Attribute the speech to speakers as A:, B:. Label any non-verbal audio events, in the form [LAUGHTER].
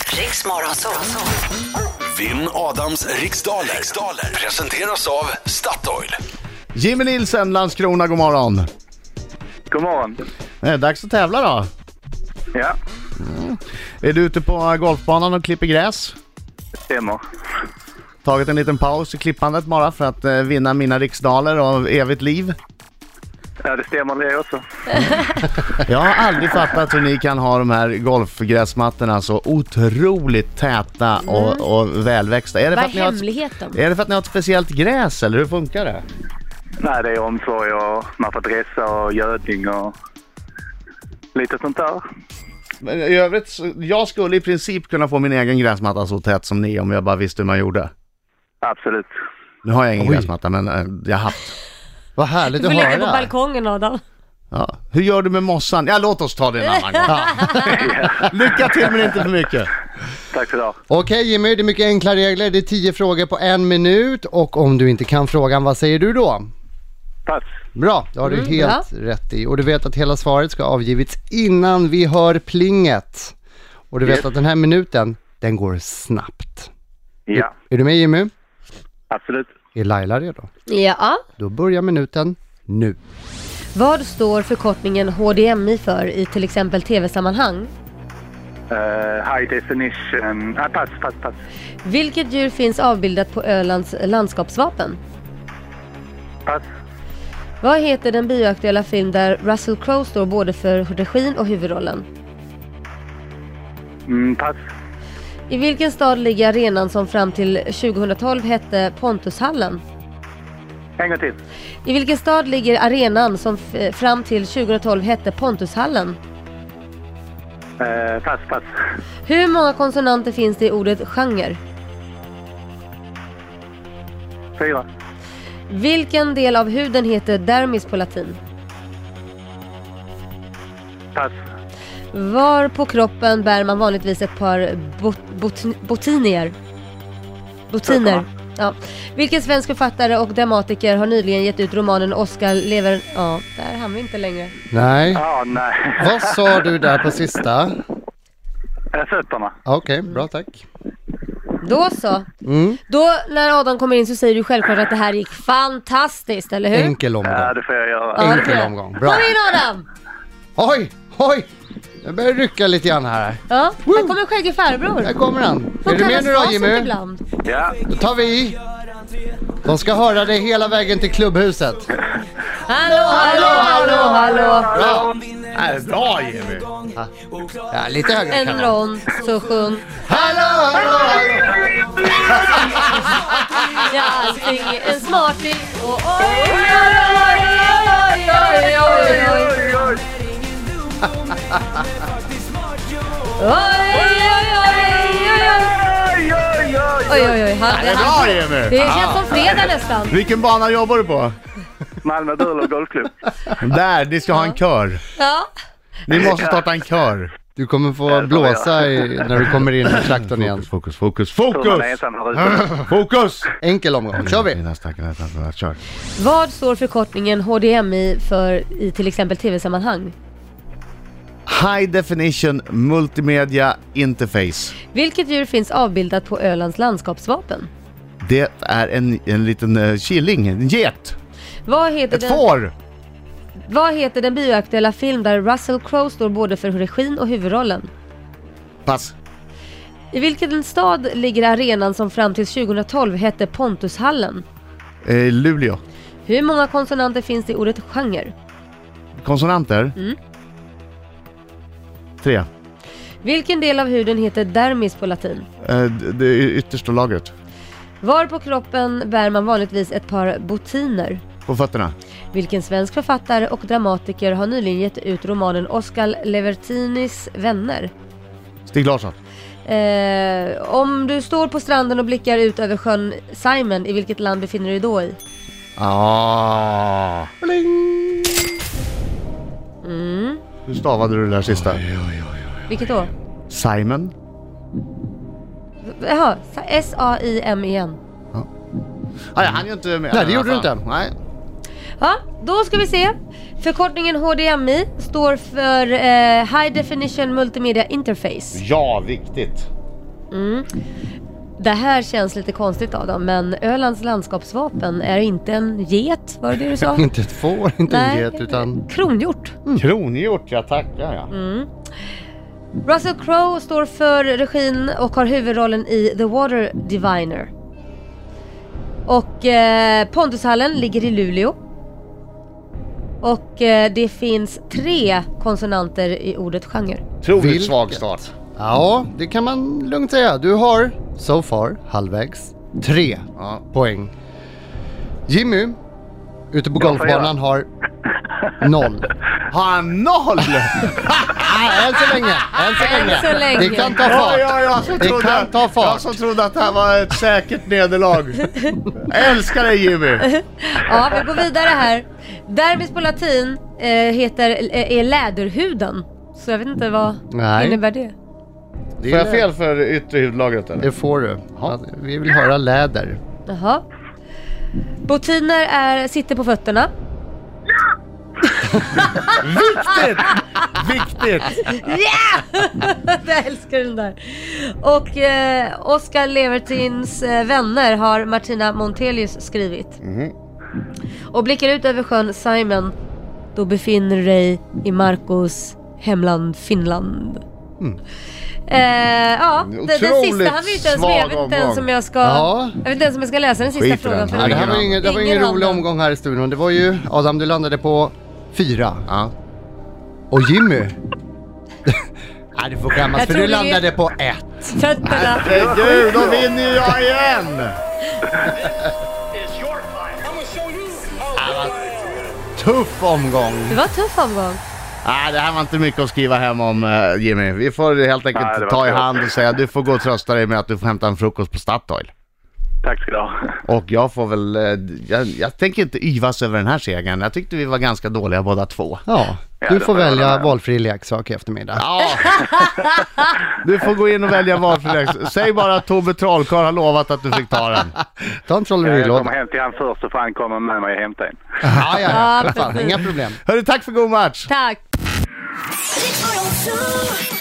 A: Riks Morgonzoo.
B: Vinn Adams riksdaler. riksdaler presenteras av Statoil.
C: Jimmy Nilsen, Landskrona, god morgon.
D: God morgon.
C: Det är dags att tävla då.
D: Ja,
C: Är du ute på golfbanan och klipper gräs?
D: det stämmer.
C: Tagit en liten paus i klippandet bara för att eh, vinna mina riksdaler och evigt liv?
D: Ja, det stämmer det också.
C: Jag har aldrig fattat hur ni kan ha de här golfgräsmattorna så otroligt täta och, och välväxta. Är det,
E: Vad
C: för att ni
E: är
C: har ett,
E: hemligheten?
C: är det för att ni har ett speciellt gräs eller hur funkar det?
D: Nej, det är omsorg och man får dressa och gödning och lite sånt där.
C: Men I övrigt, så- jag skulle i princip kunna få min egen gräsmatta så tät som ni om jag bara visste hur man gjorde.
D: Absolut.
C: Nu har jag ingen
F: Oj.
C: gräsmatta men eh, jag har haft.
F: [LAUGHS] Vad härligt
E: Du
F: att
E: får ligga på
F: höra.
E: balkongen Adam.
C: Ja. Hur gör du med mossan? Ja, låt oss ta det en annan gång. [LAUGHS] Lycka till men inte för mycket.
D: Tack för idag.
F: Okej Jimmy, det är mycket enkla regler. Det är tio frågor på en minut och om du inte kan frågan, vad säger du då?
D: Pass.
F: Bra, det har du
E: Mm,
F: helt rätt i. Och du vet att hela svaret ska avgivits innan vi hör plinget. Och du vet
D: Yes.
F: att den här minuten, den går snabbt.
D: Ja,
F: Är du med Jimmy?
D: absolut.
F: Är Laila redo?
E: Ja.
F: Då börjar minuten nu.
E: Vad står förkortningen HDMI för i till exempel tv-sammanhang?
D: Eh, high definition. Ah, pass, pass, pass.
E: Vilket djur finns avbildat på Ölands landskapsvapen?
D: Pass.
E: Vad heter den bioaktuella film där Russell Crowe står både för regin och huvudrollen?
D: Mm, pass.
E: I vilken stad ligger arenan som fram till 2012 hette Pontushallen?
D: En gång till.
E: I vilken stad ligger arenan som f- fram till 2012 hette Pontushallen?
D: Eh, pass, pass.
E: Hur många konsonanter finns det i ordet genre?
D: Fyra.
E: Vilken del av huden heter dermis på latin?
D: Pass.
E: Var på kroppen bär man vanligtvis ett par bot- bot- botinier? Botiner. Ja. Vilken svensk författare och dramatiker har nyligen gett ut romanen Oscar lever... Ja, där hann vi inte längre.
F: Nej.
D: Ja, nej. [LAUGHS]
F: Vad sa du där på sista?
D: Eh, Fötterna.
F: Ja, Okej, bra tack.
E: Då så.
F: Mm.
E: Då när Adam kommer in så säger du självklart att det här gick fantastiskt, eller hur?
F: Enkel
D: Ja,
F: omgång.
D: det får jag göra.
E: Eh. Ja, det får
F: Enkel
E: jag.
F: omgång. Bra.
E: Kom in Adam!
F: Oj, oj! Jag börjar rycka lite grann här.
E: Ja, här kommer en skäggig farbror.
F: Där kommer han.
E: Han
F: Är du med
E: kallas
F: nu då
E: Fasen
F: Jimmy?
E: ibland.
D: Ja,
F: Då tar vi i. De ska höra dig hela vägen till klubbhuset.
E: Hallå, hallå, hallå, hallå!
F: Bra!
C: Nej, bra Jimmy!
F: Ja, lite högre kan
E: En
F: man.
E: rond, så sjung.
F: Hallå, hallå, hallå!
E: Ja, allting är en smarting och oj, oj, oj, oj, oj, oj, oj, oj. Oj, oj, oj, oj, oj. Oj, oj, oj. Han-
C: Det är bra Jimmy!
E: Det känns som fredag nästan.
C: Vilken bana jobbar du på?
D: Malmö Burlöv Golfklubb.
C: Där, ni ska ha en kör.
E: Ja.
C: Ni måste starta en kör.
F: Du kommer få blåsa i, när du kommer in i traktorn igen.
C: Fokus, fokus,
D: Tror man är
C: fokus!
D: ensam här ute.
C: [LAUGHS] Fokus!
F: Enkel omgång, kör vi!
C: Mina stackare, stackare, kör.
E: Vad står förkortningen HDMI för i till exempel tv-sammanhang?
C: High definition multimedia interface.
E: Vilket djur finns avbildat på Ölands landskapsvapen?
C: Det är en, en liten uh, killing, en get,
E: Vad heter,
C: ett
E: den,
C: får.
E: vad heter den bioaktuella film där Russell Crowe står både för regin och huvudrollen?
C: Pass.
E: I vilken stad ligger arenan som fram till 2012 hette Pontushallen?
C: Eh, Luleå.
E: Hur många konsonanter finns det i ordet genre?
C: Konsonanter?
E: Mm.
C: Tre.
E: Vilken del av huden heter dermis på latin?
C: Eh, d- det är yttersta lagret.
E: Var på kroppen bär man vanligtvis ett par botiner?
C: På fötterna.
E: Vilken svensk författare och dramatiker har nyligen gett ut romanen Oscar Levertinis vänner?
C: Stig Larsson.
E: Eh, om du står på stranden och blickar ut över sjön Simon, i vilket land befinner du dig då i?
C: Ah. Hur stavade du det där sista?
E: Vilket då?
C: Simon?
E: Jaha, Sa- S-A-I-M-E-N.
C: Ah, jag hann ju inte med.
F: Nej, det gjorde du inte.
C: Nej.
E: Ja, då ska vi se. Förkortningen HDMI står för eh, High Definition Multimedia Interface.
C: Ja, viktigt.
E: Det här känns lite konstigt Adam, men Ölands landskapsvapen är inte en get, var det det du
F: [LAUGHS]
E: sa?
F: Inte ett får, inte en get, utan...
E: kronhjort.
F: Mm.
C: Kronhjort, jag tackar ja.
E: Russell Crowe står för regin och har huvudrollen i The Water Diviner. Och eh, Pontushallen ligger i Luleå. Och eh, det finns tre konsonanter i ordet genre.
C: Otroligt
F: Vilket?
C: svag start.
F: Ja, det kan man lugnt säga. Du har, so far, halvvägs, tre
C: Ja.
F: poäng. Jimmy, ute på golfbanan, har noll.
C: [LAUGHS] Har han noll?
F: Nej, än så länge, än så
E: Än
F: länge.
E: så länge.
F: Det kan ta fart.
C: jag som
F: Det kan ta fart.
C: Jag som trodde att det här var ett säkert nederlag. Jag älskar dig Jimmy.
E: Ja, vi går vidare här. Dermis på latin eh, heter, eh, är läderhuden. Så jag vet inte vad
F: Nej.
E: innebär det.
F: Det,
C: Får
F: är
C: jag
F: fel?
C: fel för yttre hudlagret eller?
F: det får du. Vi vill höra läder.
E: Jaha. Botiner är, sitter på fötterna.
C: Viktigt! Viktigt!
E: Jag älskar den där. Och eh, Oscar Levertins eh, vänner har Martina Montelius skrivit.
C: Mhm.
E: Och blickar ut över sjön Simon, då befinner du dig i Marcos hemland Finland. Eh, ja, den, den sista
C: Mm. Otroligt
E: han vet inte ens
C: svag
E: med. Jag vet inte ens
C: omgång.
E: om jag ska,
F: Ja.
E: jag vet inte ens om jag ska läsa den sista
C: Skit i
E: frågan.
C: den.
E: för
C: Ja,
F: Ja, det här var
C: Ingen
F: ju ingen, det var ingen
E: annan.
F: rolig omgång här i studion. Det var ju, Adam du landade på fyra.
C: Ja.
F: Och Jimmy? [LAUGHS] Nej, du får skämmas
E: Jag
F: för
E: tror
F: du
E: det-
F: landade på ett.
E: Fötterna.
C: Men gud, då vinner ju jag igen!
F: Tuff omgång.
E: Det var en tuff omgång.
C: Nej, det här var inte mycket att skriva hem om eh, Jimmy. Vi får helt enkelt
D: Nej, det var
C: ta i
D: tråkigt.
C: hand och säga du får gå och trösta dig med att du får hämta en frukost på Statoil.
D: Tack ska du ha.
C: Och jag får väl, eh, jag, jag tänker inte yvas över den här segern. Jag tyckte vi var ganska dåliga båda två.
F: Ja,
D: Ja,
F: du
D: det
F: får
D: får jag hålla
F: välja
D: med.
F: valfri leksak i eftermiddag.
C: Ja. [LAUGHS] Du får gå in och välja valfri läxa. Säg bara att Tobbe Trollkarl har lovat att du fick ta den.
F: Ta en
D: Jag kommer
F: trollerilåda.
D: hem till han först så får han komma med mig och hämta en.
F: Ja, ja,
E: Ja,
F: ja. Fan,
E: precis.
F: inga problem.
C: Hörru, tack för god match!
E: Tack.
A: Riks Morgonzoo.